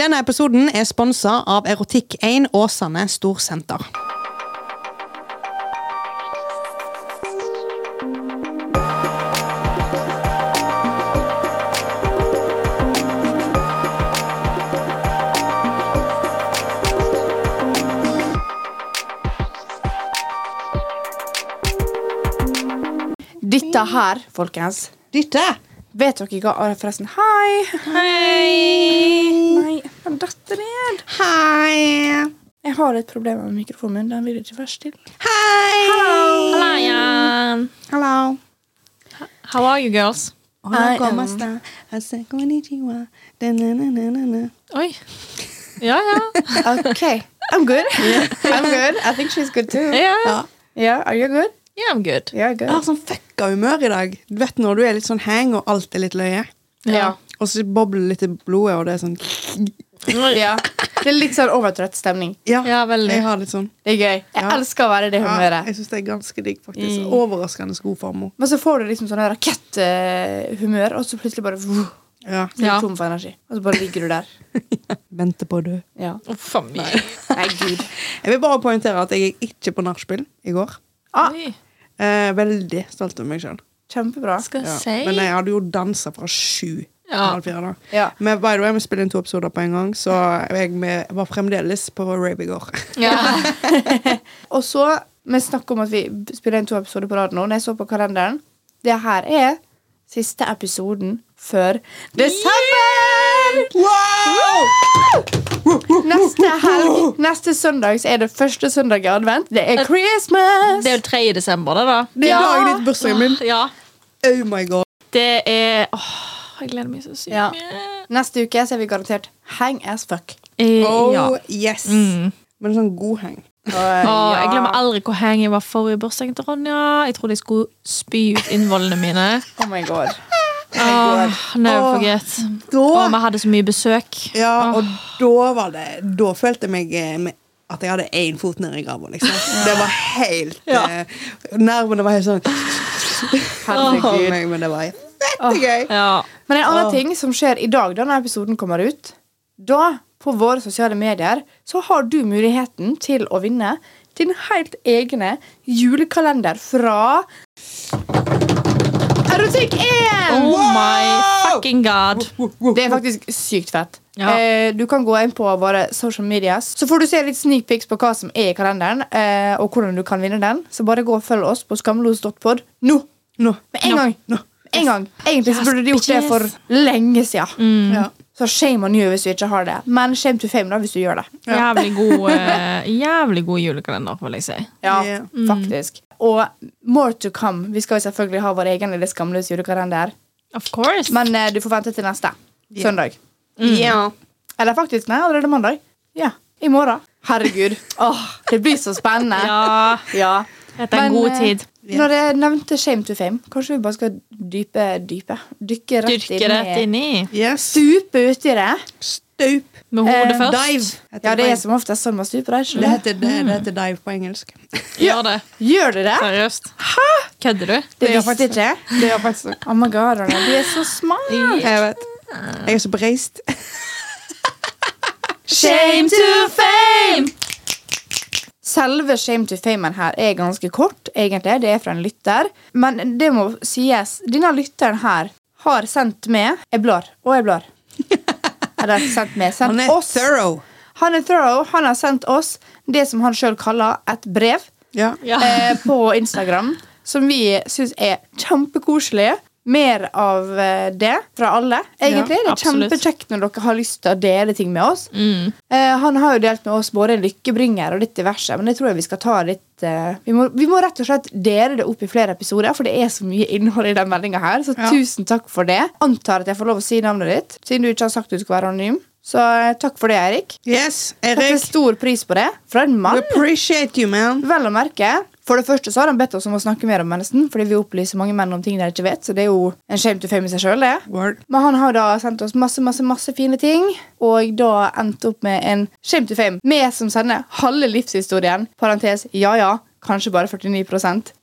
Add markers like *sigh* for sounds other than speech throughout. Denne episoden er sponsa av Erotikk1 Åsane Storsenter. Dette her, folkens Dette! Vet dere hva Å, Forresten, hei! Hei! Nei, han datt ned. Hei! Jeg har litt problemer med mikrofonen min. Den vil ikke først til. Hei! Hello, Jan. Hello. How are you, girls? Hola, I ¿cómo am- está? I say konnichiwa. Da-na-na-na-na. Oi. Ja, ja. OK. I'm good. I'm good. I think she's good too. Yeah, Yeah, are you good? yeah I'm good. Yeah, Jeg har good. sånn fucka humør i dag. Du vet når du er litt sånn hang, og alt er litt løye. Ja. Og så bobler det litt i blodet, og det er sånn Ja. Det er litt sånn overtrøtt stemning. Ja, Ja, veldig. jeg har litt sånn. Det er gøy. Jeg Ja. elsker å være i det Ja, humøret. jeg syns det er ganske digg, faktisk. Overraskende god formo. Men så får du liksom sånn raketthumør, og så plutselig bare vuh, Ja. så er Ja. du tom for energi. Og så bare ligger du der. Vente på å dø. Ja. Uff a meg. Nei, gud. Jeg vil bare poengtere at jeg gikk ikke på nachspiel i går. Ah, Oi, Eh, veldig stolt av meg sjøl. kjempebra. skal Ja. jeg si. Men jeg hadde jo dansa fra sju til Ja. halv fire. da Ja. Men by the way, vi spiller inn to episoder på en gang, så jeg med- var fremdeles på rave i går. Ja. Og så, vi snakker om at vi spiller inn to episoder på rad nå. Når jeg så på kalenderen, det her er siste episoden før desember! Neste helg, neste søndag, så er det første søndag i advent. Det er Christmas! *laughs* Det er jo 3. desember, det, da. Det er Ja. dagen etter bursdagen min. Ja. Oh my god. Det er Åh, jeg gleder meg så sykt Ja. mye. Neste uke så er vi garantert hang as fuck. Eh, Oh ja. yes. Mm. Men sånn god hang. Og, Åh, jeg ja. glemmer aldri hvor hang jeg var forrige bursdagen til Ronja. Jeg trodde jeg skulle spy ut innvollene mine. Oh my god. Ah, Åh, never Åh, forget. Og Da, vi hadde så mye besøk. ja, og da var det Da følte jeg meg eh, med- at jeg hadde én fot ned i grava, liksom. Det var helt eh, Nervene var helt sånn Herregud. meg, Men det var vettegøy. Ja. Men en annen Ah. ting som skjer i dag, da når episoden kommer ut Da, på våre sosiale medier, så har du muligheten til å vinne din helt egne julekalender fra Erotikk 1! Oh my fucking god. Det er faktisk sykt fett. Ja. Eh, du kan gå inn på våre social medias, så får du se litt sneak pics på hva som er i kalenderen, eh, og hvordan du kan vinne den. Så bare gå og følg oss på skamlos.pod nå! Nå. Med en Nå. gang! Nå. En gang. Egentlig så Yes, burde du gjort det bitches. for lenge siden. Ja. Så shame on you hvis du ikke har det. Men shame to fame da hvis du gjør det. Jævlig god, eh, jævlig god julekalender, vil jeg si. Ja, Mm. Yeah. faktisk. Og more to come. Vi skal jo selvfølgelig ha vår egen lille skamløse julekalender. Of course. Men eh, du får vente til neste søndag. Mm. Ja. Eller faktisk, nei, allerede mandag. Ja, I morgen. Herregud. *laughs* Åh, det blir så spennende. ja, Ja. dette er en Men, god eh, tid. Når jeg nevnte shame to fame, kanskje vi bare skal dype, dype. Dykke rett Dyrke rett inn i inni. Yes. Stupe uti det. Stup. Med hodet Eh, først. Dive. Ja, det er som oftest sånn man stuper. er ikke det det? heter, det, det heter dive på engelsk. Gjør det. Gjør det det? Seriøst. Kødder du? Det visste ikke jeg. Oh my god, Arne, du er så smart. Jeg vet. Jeg er så bereist. Shame to fame! Selve shame to famen her er ganske kort, egentlig. Det er fra en lytter. Men det må sies, denne lytteren her har sendt med Jeg blar, og jeg blar. Eller sendt med. Han Sendt er oss. thorough. Han er thorough. Han har sendt oss det som han sjøl kaller et brev Ja. Ja. *laughs* eh, på Instagram, som vi syns er kjempekoselig. Mer av eh, det fra alle, egentlig. det Ja, er absolutt. kjempekjekt når dere har lyst til å dele ting med oss. Mm. Eh, han har jo delt med oss både en lykkebringer og litt diverse, men det tror jeg vi skal ta litt eh, vi, må, vi må rett og slett dele det opp i flere episoder, for det er så mye innhold i den meldinga her, så Ja. tusen takk for det. Antar at jeg får lov å si navnet ditt, siden du ikke har sagt du skal være anonym. Så eh, takk for det, Eirik. Yes, Setter Erik. stor pris på det fra en We mann. appreciate you, man. Vel å merke. For det første så har han bedt oss om å snakke mer om mensen, fordi vi opplyser mange menn om ting de ikke vet, så det er jo en shame to fame i seg sjøl, det. Word. Men han har da sendt oss masse masse, masse fine ting, og da endt opp med en shame to fame. Vi som sender halve livshistorien, parentes ja ja, kanskje bare 49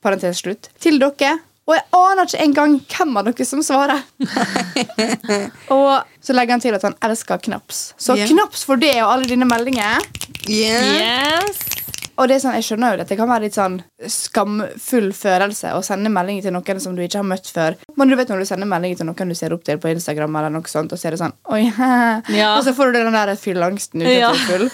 parentes slutt, til dere Og jeg aner ikke engang hvem av dere som svarer. og så legger han til at han elsker knaps. Så Ja. knaps for det og alle dine meldinger. Yeah. Yes. Og det er sånn, jeg skjønner jo at det kan være litt sånn skamfull følelse å sende meldinger til noen som du ikke har møtt før. Men du vet når du sender meldinger til noen du ser opp til på Instagram, eller noe sånt, og så er det sånn Oi, *laughs* Ja. Og så får du den der fylleangsten uten Ja. at du er full.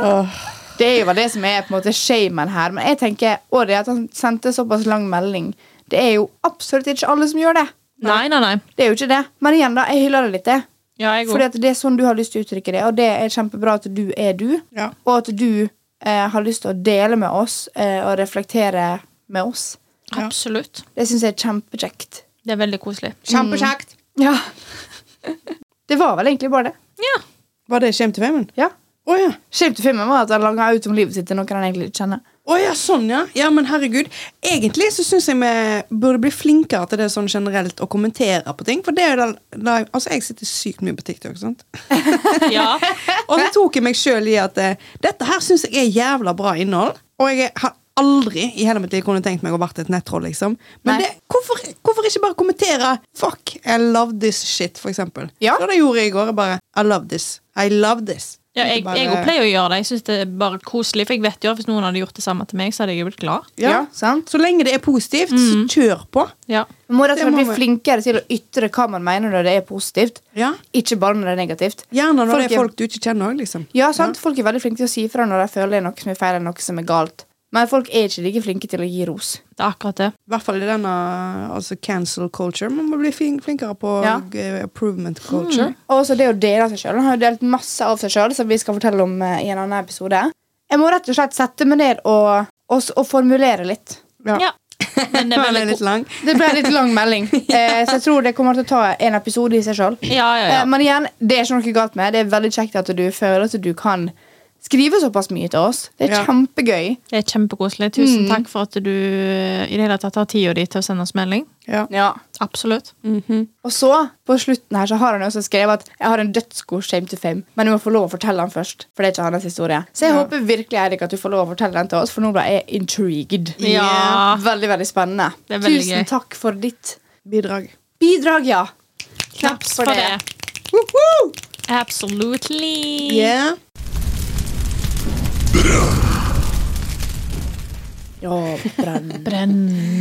Åh, Det er jo det som er på en måte shamen her. Men jeg tenker, og det at han sendte såpass lang melding, det er jo absolutt ikke alle som gjør det. Nei, nei, nei. Det er jo ikke det. Men igjen, da, jeg hyller det litt, det. Ja, jeg Fordi at det er sånn du har lyst til å uttrykke det, og det er kjempebra at du er du. Ja. Og at du eh, har lyst til å dele med oss eh, og reflektere med oss. går. Absolutt. Det syns jeg er kjempekjekt. Det er veldig koselig. Kjempekjekt. Ja. *laughs* det var vel egentlig bare det. Ja. Var det Shame to Famen? Ja. Å ja. Kjipt i filmen var at han langa ut om livet sitt til noen han egentlig ikke kjenner. Å ja, sånn ja. Ja, men herregud. Egentlig så syns jeg vi burde bli flinkere til det sånn generelt å kommentere på ting. For det er jo da, da Altså, jeg sitter sykt mye på TikTok, sant. ja. Og så tok jeg meg sjøl i at eh, dette her syns jeg er jævla bra innhold. Og jeg har aldri i hele mitt liv kunne tenkt meg å vært et nettroll, liksom. Men Nei. det, hvorfor, hvorfor ikke bare kommentere 'fuck, I love this shit', for eksempel? Ja. Så det gjorde jeg i går. Jeg bare 'I love this'. I love this. Ja, *laughs* jeg, Bare- jeg pleier å gjøre det. Jeg synes det er bare koselig For jeg vet jo at hvis noen hadde gjort det samme til meg, så hadde jeg jo blitt glad. Ja. sant? Så lenge det er positivt, så kjør på. Ja. Man må rett Det og slett må bli vi. flinkere til å ytre hva man mener når det er positivt. Ja. Ikke bare når det er negativt. Gjerne når det er- er folk du ikke kjenner òg, liksom. Ja, sant? Folk er veldig flinke til å si fra når de føler det er noe som er feil, eller noe som er galt. Men folk er ikke like flinke til å gi ros. Det er akkurat det. I hvert fall i denne altså cancel culture. Man må bli flin- flinkere på Ja. eh, improvement culture. Mm. Og også det å dele av seg sjøl. Han har jo delt masse av seg sjøl, som vi skal fortelle om eh, i en annen episode. Jeg må rett og slett sette meg ned og, og, s- og formulere litt. Ja. Men *laughs* Den det er er veldig litt sånn. ko- lang. Det ble en litt lang melding, *laughs* eh, så jeg tror det kommer til å ta en episode i seg sjøl. ja, ja, ja. Eh, men igjen, det er ikke noe galt med. Det er veldig kjekt at du føler at du kan skrive såpass mye til oss. Det er Ja. kjempegøy. Det er kjempekoselig. Tusen takk for at du i det hele tatt har tida di til å sende oss melding. Ja. Ja. Absolutt. Og så, på slutten her, så har han jo også skrevet at jeg har en dødsgod shame to fame, men du må få lov å fortelle den først, for det er ikke hans historie. Så jeg håper virkelig, Eirik, at du får lov å fortelle den til oss, for nå ble jeg intrigued. Ja. Veldig, veldig spennende. Det er veldig Tusen gøy. takk for ditt Bidrag. bidrag, ja. Knaps for det. Woohoo! Absolutely. Yeah. Ja, brenn. Brenn.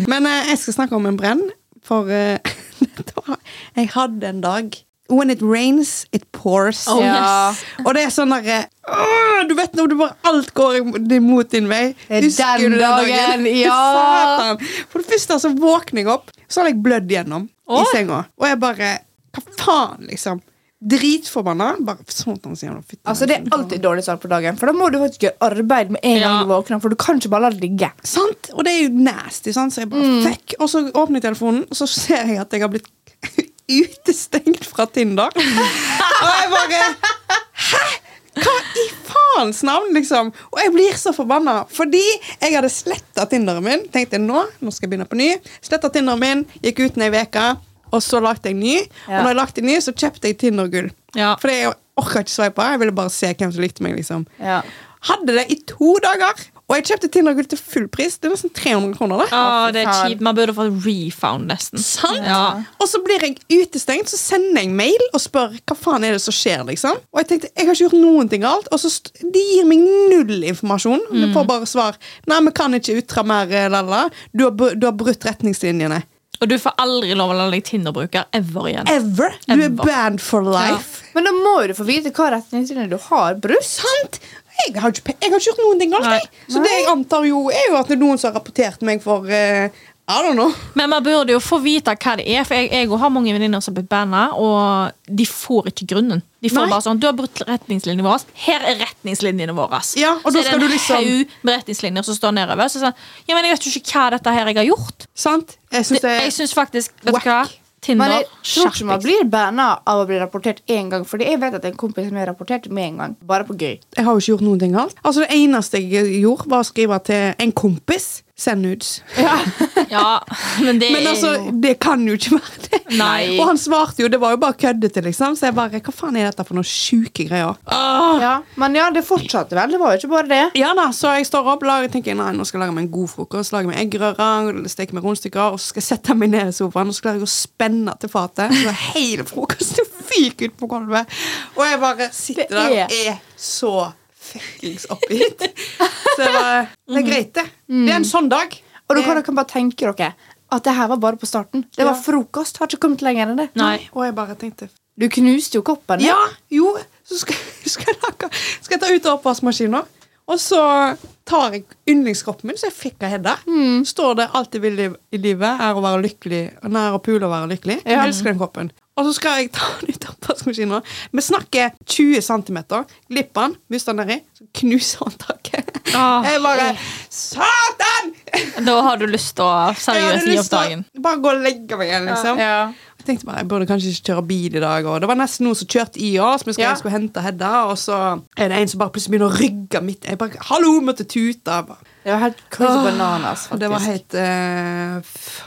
Men eh, jeg skal snakke om en brenn, for eh, *laughs* dette var- jeg hadde en dag When it rains, it pours. Oh, Ja. yes. Og det er sånn derre «Åh, Du vet når du bare alt går imot din vei. er Husker den du dagen, ja. *laughs* Satan. For det første så våkner jeg opp, så har jeg blødd gjennom i Åh. senga. Og jeg bare Hva faen, liksom? Dritforbanna. Bare sånn han sier nå, fytti Altså, det er meg, sånn. alltid dårlig start på dagen, for da må du faktisk gjøre arbeid med en gang Ja. du våkner, for du kan ikke bare la det ligge. Sant? Og det er jo nasty, sant? så jeg bare Mm. fuck. Og så åpner jeg telefonen, og så ser jeg at jeg har blitt *laughs* utestengt fra Tinder. og jeg bare Hæ?! Hva i faens navn, liksom? Og jeg blir så forbanna, fordi jeg hadde sletta Tinderen min. Tenkte nå, nå skal jeg begynne på ny. Sletta Tinderen min, gikk ut en uke, og så lagde jeg ny. Ja. Og når jeg lagde ny, så kjøpte jeg Tinder-gull. Ja. For jeg orka ikke sveipe. Jeg ville bare se hvem som likte meg, liksom. Ja. Hadde det i to dager. Og jeg kjøpte Tinder-gull til full pris. Det er nesten 300 kroner. da. Å, det er faen. kjipt. Man burde fått refund, nesten. Sant? Ja. Og så blir jeg utestengt, så sender jeg mail og spør hva faen er det som skjer. liksom. Og jeg tenkte, jeg har ikke gjort noen ting galt, og så st de gir meg null informasjon. Mm. Jeg får bare svar. Nei, vi kan ikke uttre mer, eh, lalla. Du har, br- du har brutt retningslinjene. Og du får aldri lov å la deg Tinder-bruker ever igjen. Ever! Du er Ever. banned for life. Men da må du få vite hva retningslinjer du har brutt. Sant? Jeg har, ikke, pe- jeg har ikke gjort noen ting galt. Nei. jeg. Så det jeg antar jo, er jo at det er noen som har rapportert meg for eh, I don't know. Men man burde jo få vite hva det er, for jeg, jeg har mange venninner som har blitt banna, og de får ikke grunnen. De får Nei. bare sånn, Du har brutt retningslinjene våre. Her er retningslinjene våre. Ja, og da så er skal det du liksom- haug med retningslinjer som står nedover. Så sånn, ja, men jeg vet jo ikke hva dette her jeg har gjort. Sant? Jeg synes det, jeg syns faktisk Vet du hva? Whack. Tinder Men jeg tror skjerp ikke man deg. blir banna av å bli rapportert én gang. Fordi jeg vet at en kompis som er rapportert med en gang. Bare *laughs* på gøy. Jeg har jo ikke gjort noen ting galt. Altså Det eneste jeg gjorde, var å skrive til en kompis. Send nudes. Ja. Ja, men det Men altså, det kan jo ikke være det. Nei. Og han svarte jo, det var jo bare køddete, liksom. Så jeg bare, hva faen er dette for noen sjuke greier? Åh. Ja, men ja, det fortsatte vel. Det var jo ikke bare det. Ja da, så jeg står opp lager, tenker jeg, nei, nå skal jeg lage meg en god frokost. Lage meg eggerøre, steke meg rundstykker, og så skal jeg sette meg ned i sofaen og så klarer jeg å spenne til fatet. Så hele frokosten fyker ut på gulvet. Og jeg bare sitter Det der og er- er så fuckings oppgitt. Så jeg bare, det er greit, det. Det er en sånn dag. Mm. Og da Det- kan dere bare tenke dere at det her var bare på starten. Det var Ja. frokost. Har ikke kommet lenger enn det. Nei. Og jeg bare tenkte Du knuste jo koppen. Ja, jo, så skal, *laughs* skal, jeg, lage, skal jeg ta ut oppvaskmaskinen. Og så tar jeg yndlingskroppen min, så jeg fikk av Hedda. Står det 'alt jeg vil i i livet, er å være lykkelig', og 'nær å pule og være lykkelig'. Jeg Ja. elsker den kroppen. Og så skal jeg ta *laughs* den ut av oppvaskmaskinen. Vi snakker 20 cm. Glipper den, mister den nedi, så knuser håndtaket. Ah. jeg bare Satan! Da har du lyst til å Jeg hadde seriøst gi lyst opp dagen. til å bare gå og legge meg igjen, liksom. Ja. Jeg tenkte bare, jeg burde kanskje ikke kjøre bil i dag. Og det var nesten noen som kjørte i oss. Vi skulle, Ja. jeg skulle hente Hedda, og så er det en som bare plutselig begynner å rygge midt Jeg bare, Hallo, måtte tute. Jeg bare, Det var helt crazy bananas, og faktisk. det var helt eh, f-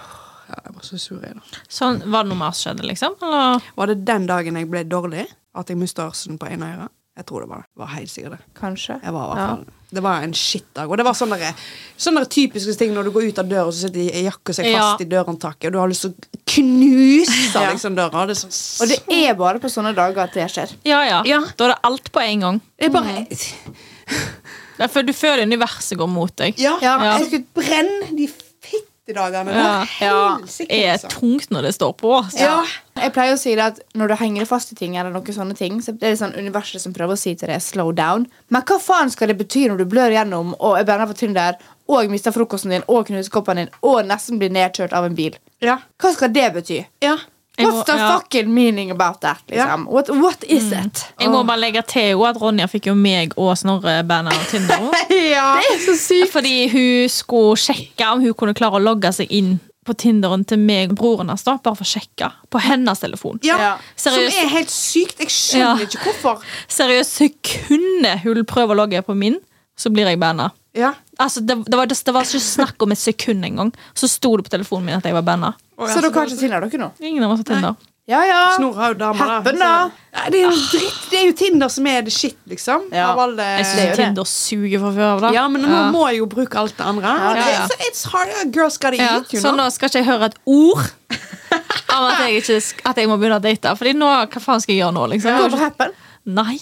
ja, Jeg var så sur i det. Sånn, var det noe mer som skjedde, liksom? Eller? Var det den dagen jeg ble dårlig? At jeg mistet hørselsen på ene øret? Jeg tror det var det. det. Var helt sikkert det. Kanskje. Jeg var i Ja. hvert fall Det var en shitdag. Og det var sånne, der- sånne der typiske ting når du går ut av døra, og så sitter ei jakke seg Ja. fast i dørhåndtaket, og du har lyst til å knuse Ja. liksom, døra. Det er sånn, Og det er bare på sånne dager at det skjer. Ja, ja, Ja. Da er det alt på en gang. Jeg bare Det er for du føler universet går mot deg. Ja, Ja. jeg skulle brenne de fittedagene. Ja. Ja. altså. Det er altså. tungt når det står på. Altså. Ja. Jeg pleier å si det at Når du henger fast i ting, eller noen sånne ting Så det er sånn universet som prøver å si til deg 'slow down'. Men hva faen skal det bety når du blør gjennom og er banna på Tinder og mister frokosten din og knuser koppen din og nesten blir nedkjørt av en bil? Ja. Hva skal det bety? Ja. Jeg må- What's the ja. Mm. fucking meaning about that? Liksom? What, what is it? Jeg må bare legge til jo at Ronja fikk jo meg og Snorre bandet av Tinder. *laughs* Det er så sykt. Fordi hun skulle sjekke om hun kunne klare å logge seg inn på Tinderen til meg og broren hans. da, Bare for å sjekke på hennes telefon. Ja. Ja. Som Seriøst. er helt sykt. Jeg skjønner Ja. ikke hvorfor. Seriøst, sekundet hun prøver å logge på min, så blir jeg banna. Ja. Altså, det, det, var, det, var ikke snakk om et sekund engang. Så sto det på telefonen min at jeg var banna. Så dere har ikke Tinder, dere nå? Ingen av oss har Tinder. Ja, ja. Snor har jo damer, da. Happen, da. Så- Nei, det er jo dritt. Det er jo Tinder som er det shit, liksom. Ja. Av alle Jeg det er jo det. syns Tinder suger fra før av. da. Ja, men nå må jeg jo bruke alt det andre. Og ja, det ja. er- så It's hard. a Girls gotta Ja, sånn eat, you så know. nå skal ikke jeg høre et ord *laughs* om at jeg, ikke, sk- at jeg må begynne å date. Fordi nå, hva faen skal jeg gjøre nå, Går det på liksom? happen? Nei.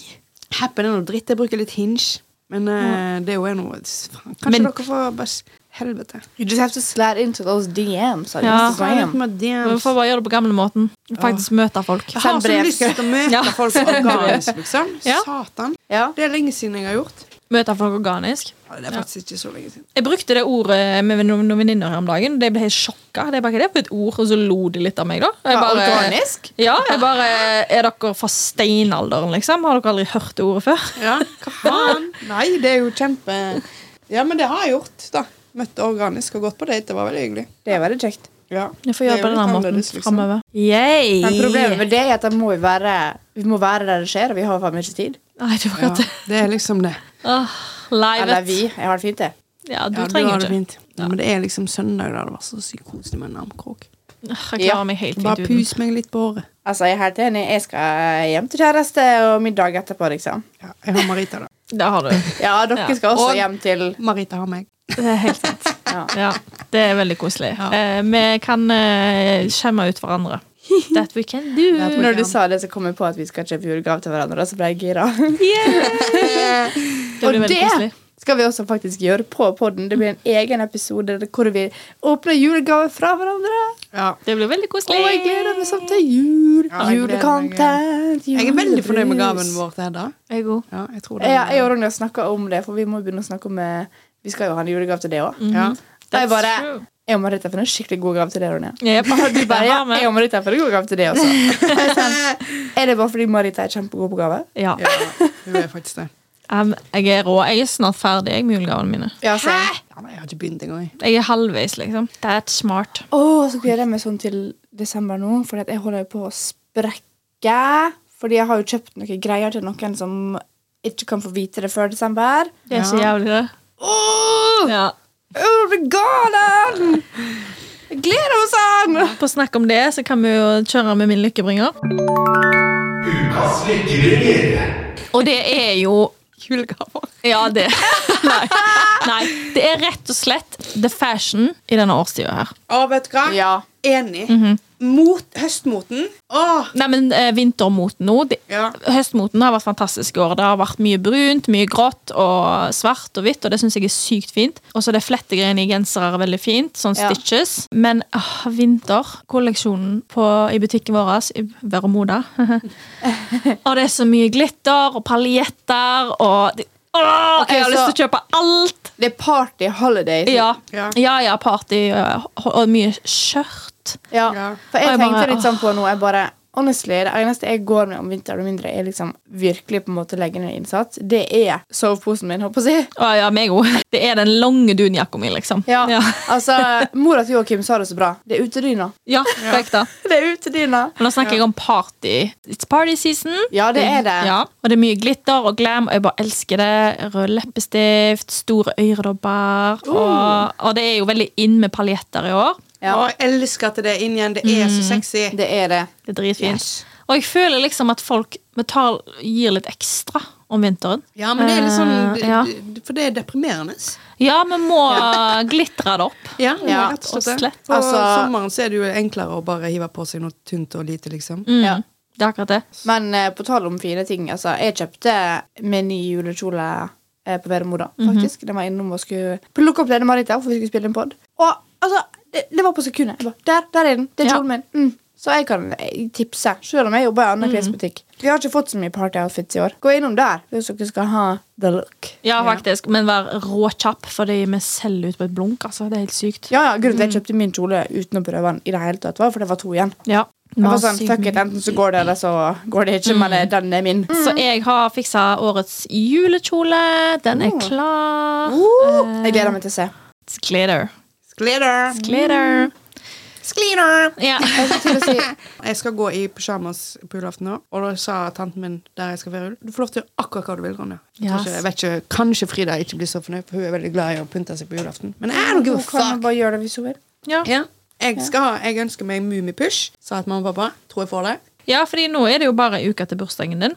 Happen er noe dritt. Jeg bruker litt hinge. Men eh, det er jo en noe faen, Kanskje Mm. Men- dere får bare s- Helvete. You just have to slide into those altså. DMs. on Ja. Instagram. altså. Vi får bare gjøre det på gamlemåten. Faktisk møte folk. Jeg har Send så brev. lyst til å møte *laughs* Ja. folk organisk, liksom. Ja. Satan. Ja. Det er lenge siden jeg har gjort. Møte folk organisk. Ja, det er faktisk ikke så lenge siden. Jeg brukte det ordet med noen noen venninner her om dagen. De ble helt sjokka. De bare, "Hva er det for et ord, Og så lo de litt av meg, da. Jeg Ja, bare- organisk? Ja, jeg bare Er dere fra steinalderen, liksom? Har dere aldri hørt det ordet før? Ja, hva faen? *laughs* Nei, det er jo kjempe Ja, men det har jeg gjort, da. Møtte organisk og gått på date. Det var veldig hyggelig. Det er veldig kjekt. Ja. Jeg får gjøre Det på er jo denne litt måten annerledes, liksom. fremover. Yay! Men problemet med det er at da må vi være, vi må være der det skjer, og vi har faen meg ikke tid. Nei, det var Ja, godt. det er liksom det. Åh, live Eller it. vi. Jeg har det fint, det. Ja, du Ja, trenger har det ikke. fint. Ja, men det er liksom søndag, da. Det var så sykt koselig med en armkrok. Åh, Jeg Ja, klarer meg helt fint Bare uten. pus meg litt på håret. Altså, jeg er helt enig. Jeg skal hjem til kjæreste og middag etterpå, liksom. Ja, jeg har *laughs* Marita, da. Det har du. Ja, dere Ja. skal også Og- hjem til Marita har meg. Det er helt sant. ja. Ja, det er veldig koselig. Ja. Eh, vi kan eh, skjemme *laughs* ut hverandre. That we can do. That we- Når du sa det, så kom jeg på at vi skal kjøpe julegave til hverandre, og så ble jeg gira. *laughs* Yeah. Det Og blir veldig koselig. det skal vi også faktisk gjøre på podden. Det blir en egen episode hvor vi åpner julegaver fra hverandre. Ja. Det blir veldig Og koselig. jeg gleder meg sånn til Ja, jul. jeg gleder meg. Julecontent. Jeg er veldig fornøyd med gaven julebrus. vår til Hedda. Jeg er god. Ja, jeg tror det. Ja, jeg og Ragnar snakka om det, for vi må jo begynne å snakke om eh, Vi skal jo ha en julegave til det òg. *laughs* Ja. Og jeg Mm. That's bare true. Jeg og Marita har funnet en skikkelig god gave til det, Ronja. *laughs* Jeg er bare, Du bare, ja, jeg med. og Marita har funnet en god gave til det også. Og jeg er sånn, *laughs* Er det bare fordi Marita er kjempegod på gave? Ja. *laughs* Ja, hun er faktisk det. Um, jeg er rå. Jeg er snart ferdig jeg, med julegavene mine. Ja, så. Ja, men jeg har ikke begynt engang. jeg. Jeg er halvveis, liksom. That's smart. Å, så gleder jeg meg sånn til desember nå, Fordi at jeg holder jo på å sprekke. Fordi jeg har jo kjøpt noen greier til noen som ikke kan få vite det før desember. Oh. Det er så jævlig, det. Åh, Ja. oh, veganen! Gleder oss an! På snakk om det, så kan vi jo kjøre med min lykkebringer. Ukas lykkeringer. Og det er jo Julegaver. Ja, det *laughs* Nei. Nei. Det er rett og slett the fashion i denne årstida her. Å, vet du hva? Ja. Enig. Mot, høstmoten. Åh, Nei, men eh, vintermoten nå. Det, Ja. Høstmoten har vært fantastisk i år. Det har vært mye brunt, mye grått og svart og hvitt, og det syns jeg er sykt fint. Og så det flettegreiene i gensere er veldig fint, sånn Ja. stitches. Men ah, vinterkolleksjonen på- i butikken vår, i Vermoda *laughs* Og det er så mye glitter og paljetter og det, Åh, Ok, Jeg har lyst til å kjøpe alt! Det er party holidays. Ja, Ja. ja, ja party eh, og mye skjørt. Ja, Ja. For Og jeg jeg tenkte bare, litt sånn på noe. Jeg bare, honestly, Det eneste jeg går med om vinteren og mindre, er liksom virkelig på en måte legge ned innsats. Det er soveposen min, håper jeg å si. Å, ja, meg òg. *laughs* Det er den lange dunjakka mi, liksom. Ja, Ja. altså, Mora til Joakim sa det så bra. Det er utedyna. Ja, på ekte. Det er utedyna. Men nå snakker jeg om party. It's party season. Ja, det er det. Ja, og det er mye glitter og glam, og jeg bare elsker det. Rød leppestift, store øredobber. Uh. Og, og det er jo veldig inn med paljetter i år. Ja. å, jeg elsker at det er inn igjen. Det er så sexy. Det er det. Det er dritfint. Og jeg føler liksom at folk metal gir litt ekstra om vinteren. Ja, men det er litt sånn Eh, ja. d- d- For det er deprimerende. Ja, vi må *laughs* glitre det opp. Ja, Ja, rett og og slett. det. slett. På Altså- sommeren så er det jo enklere å bare hive på seg noe tynt og lite, liksom. Mm, Ja. Det er akkurat det. Men eh, på tale om fine ting, altså, jeg kjøpte min ny julekjole eh, på Vedemoda, Mhm. faktisk. Den var innom og skulle plukke opp Lene Marita, for vi skulle spille en pod. Og altså, det, det var på sekundet. Jeg bare, der, der er den. Det er Ja. kjolen min. Mm. Så jeg kan eh, tipse, selv om jeg jobber i en Mhm. annen klesbutikk. Vi har ikke fått så mye party outfits i år. Gå innom der hvis dere skal ha the look. Ja, faktisk. Men vær råkjapp, fordi vi selger ut på et blunk. altså. Det er helt sykt. Ja, ja, Grunnen Mhm. til at jeg kjøpte min kjole uten å prøve den, i det hele tatt, var for det var to igjen. Ja. Vi Jeg har var sånn, sykt fuck mye it, Enten så går det, eller så går det ikke, men eh, den er min. Så jeg har fiksa årets julekjole. Den er klar. Uh, jeg gleder meg til å se. It's glitter. Glitter! Glitter. Sklitter! Ja. Jeg skulle *laughs* til å si Jeg skal gå i pysjamas på julaften nå, og da sa tanten min der jeg skal feire jul Du får lov til å gjøre akkurat hva du vil, Ronja. Jeg tror Yes. ikke, jeg vet ikke, Kanskje Frida ikke blir så fornøyd, for hun er veldig glad i å pynte seg på julaften. Men I don't give a Hun kan jo fuck. bare gjøre det hvis hun vil. Ja. Ja. Jeg, skal, ha- jeg ønsker meg Mummipysj, sa at mamma og pappa. Tror jeg får det. ja, fordi nå er det jo bare en uke til bursdagen din.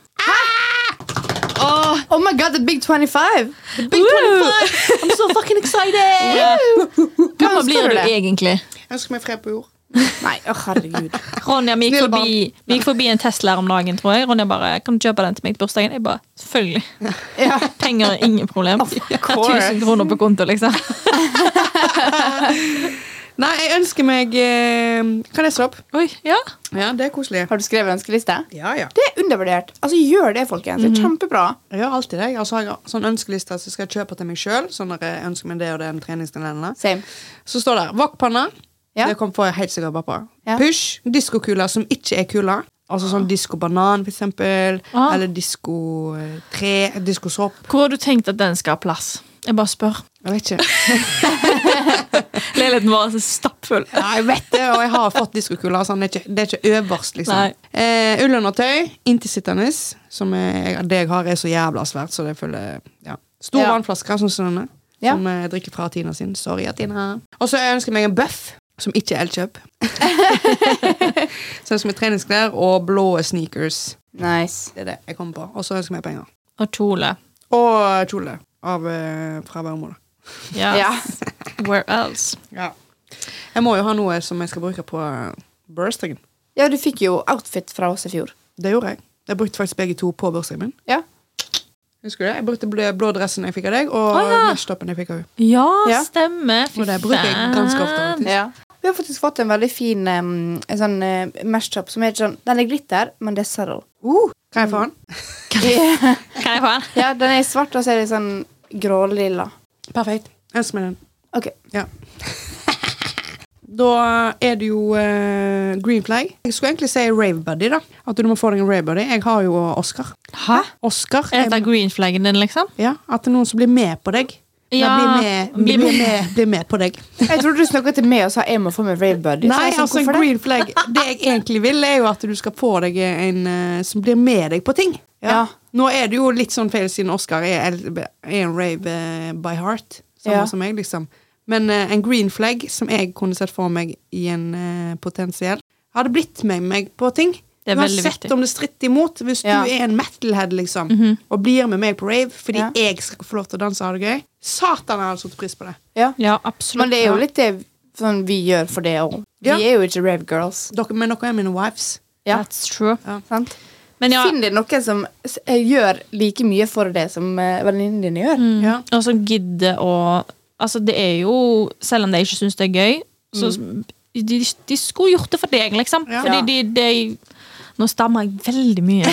Oh my god, the big 25! Big 25! I'm so fucking excited! Gammel blir du egentlig? Jeg ønsker meg fred på jord. Nei, å herregud. Ronja vi gikk Snille forbi, vi gikk forbi en Tesla her om dagen, tror jeg. Ronja bare 'Kan du kjøpe den til meg til bursdagen?' Jeg bare 'Selvfølgelig'. *laughs* Ja. Penger er ingen problem. 1000 kroner på konto, liksom. Nei, jeg ønsker meg eh, Kan jeg slå opp? Oi, ja. Ja, det er koselig. Har du skrevet ønskeliste? Ja, ja. Det er undervurdert. Altså, Gjør det, folkens. Det er kjempebra. Jeg gjør alltid det. Jeg har sånn- sånn ønskeliste som jeg skal kjøpe til meg sjøl. Sånn når jeg ønsker meg det og det er en treningskalender. Same. Så står det wokpanne. Ja. Det kom for helt sikkert pappa. Ja. Ah. Push. Diskokuler som ikke er kuler. Altså sånn diskobanan, for eksempel. Ah. Eller eh, diskotre. Diskosopp. Hvor har du tenkt at den skal ha plass? Jeg bare spør. Jeg vet *laughs* ikke. Leiligheten vår er så stappfull. Ja, jeg vet det, og jeg har fått diskokuler. Sånn. Det, er ikke- det er ikke øverst, Nei. liksom. Eh, Ullundertøy. Inntilsittende. Som er, det jeg har, er så jævla svært, så det føler ja. Stor Ja. vannflaske, sånn som denne. Ja. Som jeg drikker fra Tina sin. Sorry, Tina. Og så ønsker jeg meg en bøff. Som ikke er *laughs* Elkjøp. så jeg ønsker meg treningsklær og blå sneakers. Nice. Det er det jeg kommer på. Og så ønsker jeg meg penger. Og kjole. Og kjole av, eh, fra Vermoda. Yes. Ja. Where else? Ja. Jeg må jo ha noe som jeg skal bruke på eh, bursdagen. ja, du fikk jo outfit fra oss i fjor. Det gjorde jeg. Jeg brukte faktisk begge to på bursdagen min. Ja. Husker du det? Jeg brukte blå, blå dressen jeg fikk av deg, og Å, ja. matchtoppen jeg fikk av henne. Ja, Ja. stemmer. Fy Og det bruker jeg ganske ofte. faen. faktisk. Vi har faktisk fått en veldig fin um, en sånn uh, mesh-top som er ikke sånn Den er glitter, men det er subtle. Uh, kan jeg få den? Kan jeg få den? ja, den er i svart, og så er det sånn grålilla. Perfekt. Ønsk meg den. OK. Ja. Da er det jo eh, green flag. Jeg skulle egentlig si rave buddy, da. At du må få deg en rave buddy. Jeg har jo Oscar. Hæ? Oscar. Er dette greenflaggen din, liksom? Ja, at det er noen som blir med på deg. Ja, blir med, blir blir, med. med, blir med på deg. Jeg trodde du snakket til meg og sa jeg må få meg rave buddy. Så Nei, jeg sånn, altså hvorfor det? green flag Det jeg egentlig vil, er jo at du skal få deg en eh, som blir med deg på ting. Ja. Nå er det jo litt sånn feil, siden Oscar er, er en rave eh, by heart. Samme Ja. som meg, liksom. Men eh, en green flag som jeg kunne sett for meg i en eh, potensiell, hadde blitt med meg på ting. Det er veldig Uansett viktig. om det stritter imot. Hvis Ja. Mhm. du er en metalhead liksom, og blir med meg på rave fordi Ja. jeg skal få lov til å danse og ha det gøy Satan, jeg hadde satt pris på det. Ja. Ja, absolutt. Men det er jo litt det sånn, vi gjør for det òg. Vi Ja. er jo ikke rave girls. Dere, men dere er mine wives. Ja. Ja. That's true. Sant? Men ja, Finn deg noen som s- eh, gjør like mye for det som eh, venninnene dine Mm. gjør. Ja. og så altså, gidde å Altså, det er jo Selv om de ikke syns det er gøy, så de, de skulle gjort det for deg, liksom. Ja. Fordi de, de Nå stammer jeg veldig mye.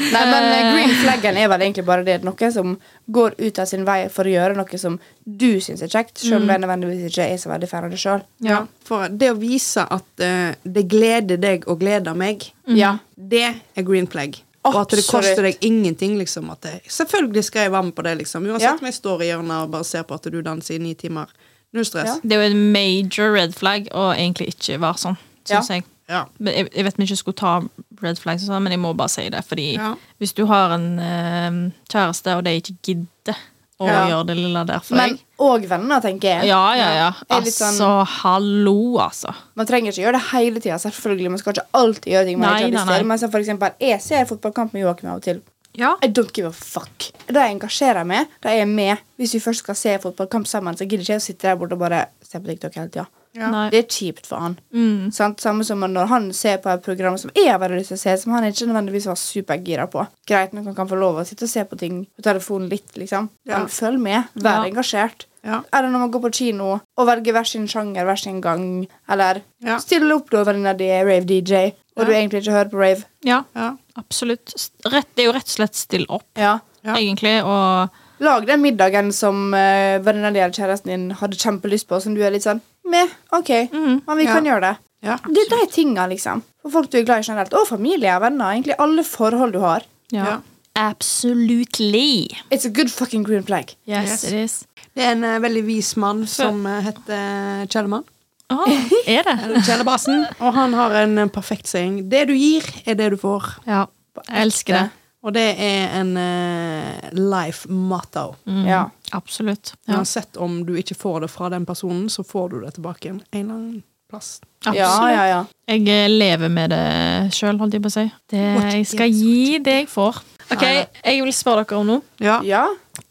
Nei, men eh, green flaggen er vel egentlig bare det noe som går ut av sin vei for å gjøre noe som du syns er kjekt, selv Mm. om det nødvendigvis ikke er så veldig fan av det sjøl. Ja. For det å vise at eh, det gleder deg og gleder meg, Ja. det er green flag. Og at det Absolutt. koster deg ingenting. liksom at det, Selvfølgelig skal jeg være med på det. liksom Uansett Ja. om jeg står i hjørnet og bare ser på at du danser i ni timer. Null stress. *laughs* Det er jo en major red flag å egentlig ikke være sånn, syns Ja. jeg. Ja. Men jeg, jeg vet vi ikke skulle ta red flags, og sånn, men jeg må bare si det. Fordi Ja. hvis du har en eh, kjæreste, og de ikke gidder å Ja. gjøre det lille der for Men deg òg venner, tenker jeg. Ja, ja, ja. Er litt Altså, sånn- hallo, altså. Man trenger ikke gjøre det hele tida, selvfølgelig. Man skal ikke alltid gjøre ting man Nei, ikke har nei, lyst til. nei. Men så for eksempel, jeg ser fotballkamp med Joakim av og til. Ja. I don't give a fuck. Da jeg engasjerer meg, da er jeg med. Hvis vi først skal se fotballkamp sammen, så gidder ikke jeg å sitte der borte og bare se på TikTok hele tida. Ja. Nei. mm, Det er kjipt for han. Sant? Samme som når han ser på et program som jeg har veldig lyst til å se, som han ikke nødvendigvis var supergira på. Greit nok han kan få lov å sitte og se på ting på telefonen litt, liksom. Ja. Men følg med. Vær Ja. engasjert. Ja. Eller når man går på kino og velger hver sin sjanger, hver sin gang. Eller Ja. stille opp da venninna di er rave DJ, og Ja. du egentlig ikke hører på rave. Ja, Ja. absolutt. S- Rett, det er jo rett og slett still opp, Ja. Ja. egentlig, og Lag den middagen som uh, venninna di eller kjæresten din hadde kjempelyst på, som du er litt sånn med, OK, men Mhm. vi Ja. kan gjøre det. Ja. Det er de tinga, liksom. For folk du er glad i generelt. Og familie og venner. Egentlig alle forhold du har. ja. Ja. Absolutely. It's a good fucking green flag. Yes, it is. Det er en eh, veldig vis mann som eh, heter Kjellemann. Å, *laughs* er det? Eller Kjellebassen. Og han har en eh, perfekt saying. Det du gir, er det du får. Ja. Jeg elsker det. Og det er en eh, life motto. Ja. Mm. Absolutt. Ja. Uansett om du ikke får det fra den personen, så får du det tilbake igjen. En eller annen plass. ja, Absolutt. ja, ja. Jeg eh, lever med det sjøl, holdt jeg på å si. Det, What jeg skal is- gi det jeg får. Ok, Jeg vil spørre dere om noe. Ja. Ja.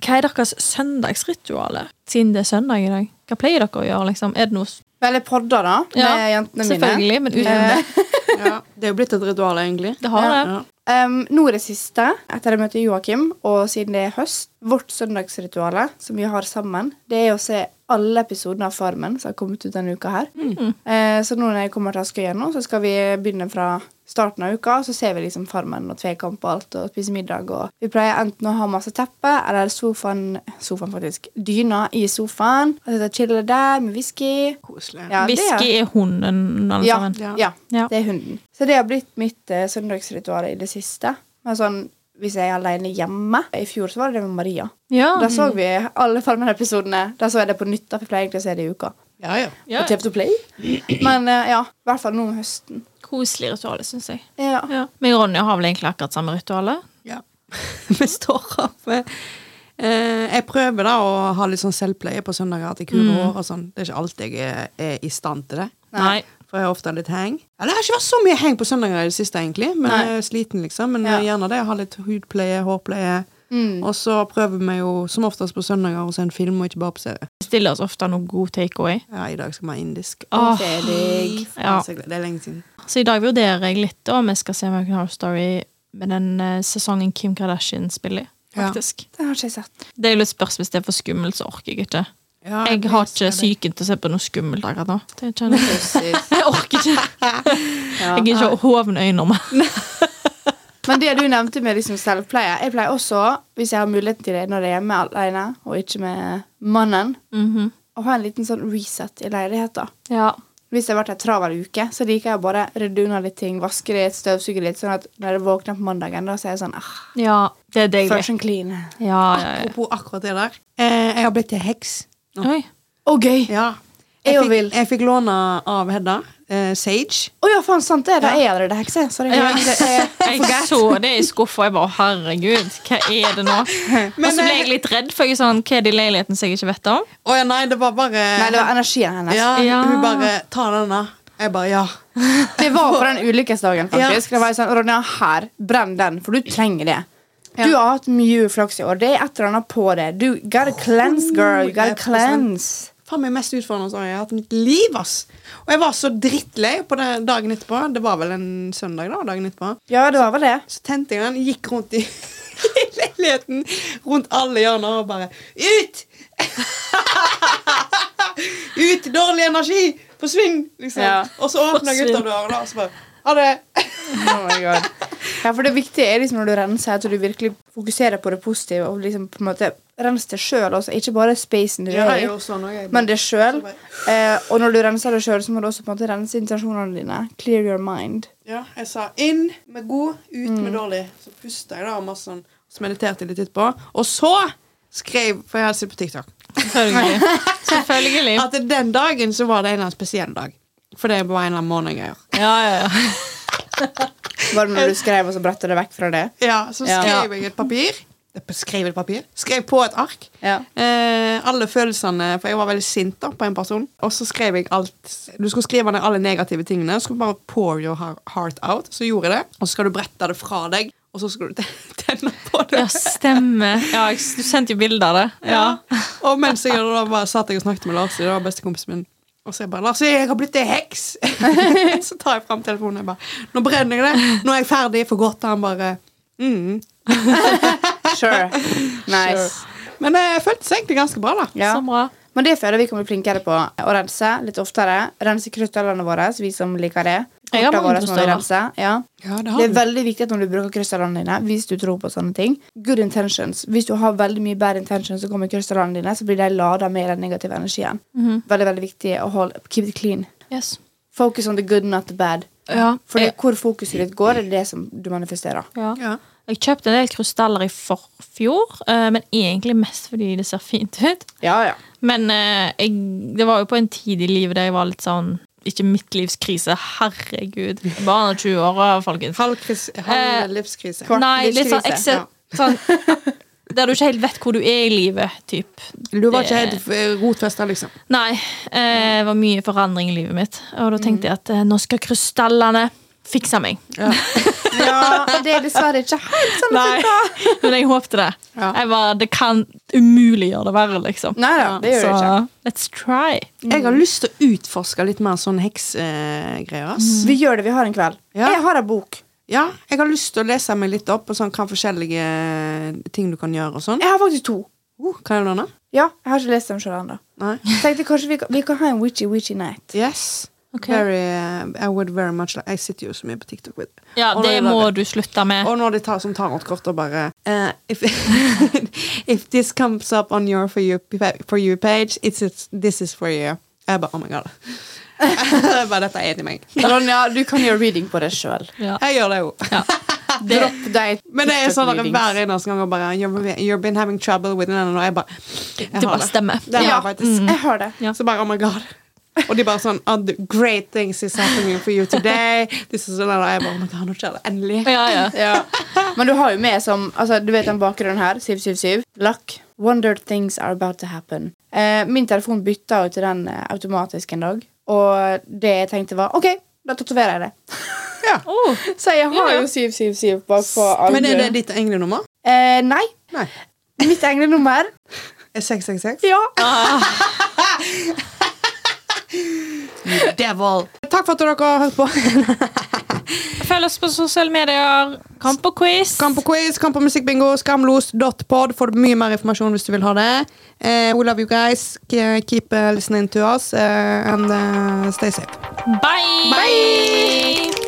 Hva er deres søndagsritualer? Siden det er søndag i dag. Hva pleier dere å gjøre? liksom? Er det noe s- Vel, jeg podder, da, med Ja, jentene mine. Selvfølgelig, men utenom Eh, det. ja. Det er jo blitt et ritual, egentlig. Det har det. Ja. Um, nå er det siste, etter jeg møtte Joakim, og siden det er høst Vårt søndagsrituale som vi har sammen, det er å se alle episodene av Farmen som har kommet ut denne uka her. Eh, så nå når jeg kommer til Askøy igjen nå, så skal vi begynne fra starten av uka, og så ser vi liksom Farmen og tvekamp og alt, og spiser middag og Vi pleier enten å ha masse teppe eller sofaen Sofaen, faktisk. Dyna i sofaen. Og sitte og chille der med whisky. Koselig. Ja, det er- Whisky er hunden, alle ja, sammen. ja. Ja. det er hunden. Så det har blitt mitt eh, søndagsritual i det siste. Men sånn, hvis jeg er alene hjemme I fjor så var det det med Maria. Ja. Da så vi alle Farmen-episodene. Da så jeg det på nytt. da, for Jeg pleier egentlig å se det i uka. Ja, ja. ja. På TV2 Play. Men eh, ja, i hvert fall nå om høsten. Koselig ritual, syns jeg. Ja. Ja. Men Ronja har vel egentlig akkurat samme ritualet? Ja. *laughs* Vi står opp. eh, eh, jeg prøver da å ha litt sånn selvpleie på søndager. At jeg kurer hår og sånn. Det er ikke alltid jeg er, er i stand til det. Nei. For jeg har ofte litt heng. Eller det har ikke vært så mye heng på søndager i det siste, egentlig. Men Nei. jeg er sliten, liksom. Men Ja. eh, gjerne det. Jeg har litt hudpleie, hårpleie. Og så prøver vi jo som oftest på søndager å se en film, og ikke bare på serie. Stiller oss ofte noe god takeaway. Ja, i dag skal vi ha indisk. Åh. Det er digg. Ja. Det er lenge siden. Så i dag vurderer jeg litt da, om jeg skal se American Horror Story med den eh, sesongen Kim Kardashian spiller i. Ja. Faktisk. Det har ikke jeg sett. Det er jo litt spørsmål hvis det er for skummelt, så orker jeg ikke. Ja, Jeg har ikke psyken til å se på noe skummelt akkurat nå. Det *laughs* kjenner jeg. jeg orker *laughs* ikke. Jeg er ikke hoven øyne om Men det du nevnte med liksom selvpleie Jeg pleier også, hvis jeg har muligheten til det når jeg er hjemme alene og ikke med mannen, Mm. å ha en liten sånn reset i leiligheten. Mhm. Ja. Hvis det har vært en travel uke, så liker jeg å bare rydde unna litt ting, vaske litt, støvsuge litt, sånn at når jeg våkner på mandagen, da så er jeg sånn ah, ja, det er Fresh deilig. and clean. Ja, ja, ja. Apropos akkurat det der. Eh, jeg har blitt til heks. Oi. Og gøy! Ja. Jeg Jeg jo fikk, vil. jeg fikk låne av Hedda. eh, Sage. Å ja, faen, sant det. Da er jeg allerede hekse. Sorry. Ja. Jeg, jeg, Jeg forget. så det i skuffa, og jeg bare herregud, hva er det *laughs* nå? Og så ble jeg litt redd, for jeg er sånn, hva er det i leiligheten som jeg ikke *laughs* vet om? Å ja, nei, det var bare Nei, det var energien hennes. ja, Ja. Hun bare 'ta denne'. Jeg bare ja. Det var på den ulykkesdagen, faktisk. Ja. Det var jeg sånn, Ronja, her, brenn den, for du trenger det. Du har hatt mye uflaks i år. Det er et eller annet på det. Du gotta cleanse, girl. You gotta 100%. cleanse. Faen meg mest utfordrende som jeg har hatt i mitt liv. ass Og jeg var så drittlei på det dagen etterpå. Det var vel en søndag, da. dagen etterpå Ja, det var vel det. Så tente jeg den, gikk rundt i *laughs* i leiligheten, rundt alle hjørner og bare Ut! *laughs* Ut! Dårlig energi! Forsvinn! Liksom. Ja. Og så åpna Forsvinn. gutta døren, da, og så bare Ha det! Oh my God. Ja, for det viktige er liksom når du renser, at du virkelig fokuserer på det positive. Og liksom på en måte renser det sjøl også, ikke bare spacen du Ja, er i. jeg gjorde sånn også, jeg. Men det sjøl. Eh, og når du renser det sjøl, så må du også på en måte rense intensjonene dine. Clear your mind. Ja, jeg sa inn med god, ut med Mm. dårlig. Så pusta jeg da masse sånn, så mediterte jeg litt etterpå. Og så skrev For jeg hadde sett på TikTok. Selvfølgelig. Selvfølgelig. At den dagen så var det en eller annen spesiell dag. For det var en eller annen morgengreier. Ja, ja, ja. Var det når du skrev, og så bretter det vekk fra det? Ja, så Ja. skrev jeg et papir. Skrev et papir? Skrev på et ark. Ja. Eh, alle følelsene, for jeg var veldig sint da, på en person. Og så skrev jeg alt. Du skulle skrive ned alle negative tingene. Du skulle bare pour your heart- heart out. Så gjorde jeg det. Og så skal du brette det fra deg, og så skal du *laughs* te- tenne på det. ja stemmer. Ja, jeg, du sendte jo bilde av det. Ja. Ja. Og mens jeg da bare satt jeg og snakket med Lars, det var bestekompisen min, og så jeg bare 'Lars, jeg har blitt ei heks!' *laughs* så tar jeg fram telefonen og jeg bare 'Nå brenner jeg det. Nå er jeg ferdig for godt.' Og han bare mm. Sure. Nice. Men eh, jeg følte seg egentlig ganske bra, da. Ja. Så bra. Men det føler jeg vi kan bli flinkere på å rense litt oftere. Rense kryttallene våre, vi som liker det. Jeg har Kortene mange våre som vi krystaller. renser, Ja. Ja, det Det har er du. veldig viktig at når du bruker krystallene dine, hvis du tror på sånne ting Good intentions. Hvis du har veldig mye bad intentions, så kommer krystallene dine, så blir de lada med den negative energien. Veldig, veldig viktig å holde, keep it clean. Yes. Focus on the good, not the bad. Ja. For Jeg, det, hvor fokuset ditt går, er det som du manifesterer. ja. Ja. jeg kjøpte en del krystaller i forfjor, eh, men egentlig mest fordi det ser fint ut. Ja, ja. Men eh, jeg, det var jo på en tid i livet der jeg var litt sånn Ikke midtlivskrise, herregud. Barn og 20 år, folkens. Halv, kris, halv Eh, livskrise. kvart Nei, litt sånn, livskrise, ekse, ja. sånn Der du ikke helt vet hvor du er i livet, typ. Du var ikke det- helt eh, rotfesta, liksom. Nei. eh, Det var mye forandring i livet mitt. Og da tenkte jeg at eh, nå skal krystallene fikse meg. ja det er dessverre ikke helt sånn. Nei, men jeg håpte det. Ja. Jeg var, det kan umulig gjøre det verre, liksom. Nei da, det gjør Så det ikke. let's try. Mm. Jeg har lyst til å utforske litt mer sånn heksegreier. ass. Vi gjør det vi har en kveld. Ja. Jeg har en bok. Ja, jeg har lyst til å lese meg litt opp på sånn, hva forskjellige ting du kan gjøre. og sånn. Jeg har faktisk to. Uh, kan jeg låne? Ja, jeg har ikke lest dem sjøl ennå. Nei. Tenkte kanskje vi kan, vi kan ha en witchy-witchy night. Yes. Ok. Very, uh, I would very much like Jeg sitter jo så mye på TikTok. With. Ja, Og det når må jeg- du slutte med. Og når de tar som tarotkort og bare eh, if, *laughs* if this comes up on your for you, for you page, it's, it's, this is for you. Jeg bare Oh my god. *laughs* Jeg bare, Dette er enig meg. Ronja, du kan gjøre reading på det sjøl. Ja. Jeg gjør det jo. Dropp deg Men det er sånn at TikTok-readings. hver eneste gang og bare you've, you've been having trouble with den, og jeg bare jeg har Det bare det. stemmer. Mm. Det har Ja. Mm. jeg faktisk. Jeg har det. Ja. Så bare, oh my god Og de bare sånn, oh, the great things is happening for you today This is another, jeg bare, oh my god, nå skjer det endelig Ja, ja. Ja. Men du har jo med som altså, Du vet den bakgrunnen her. 777. Luck. Wonder things are about to happen. Eh, min telefon bytta jo til den eh, automatisk en dag, og det jeg tenkte, var OK, da tatoverer jeg det. ja. Oh, Så jeg har Ja. jo 777 bakpå albuen. Men er det ditt egne nummer? eh, Nei. Nei Mitt egne nummer. Er 666? Ja. Devil Takk for at dere har hørt på Følg oss på sosiale medier. Kamp og quiz. Kamp og quiz, kamp og musikkbingo Skamlos.pod Får du mye mer informasjon hvis du vil ha det eh, We love you guys Ke- Keep eh, listening to us eh, And eh, stay safe Bye! Bye.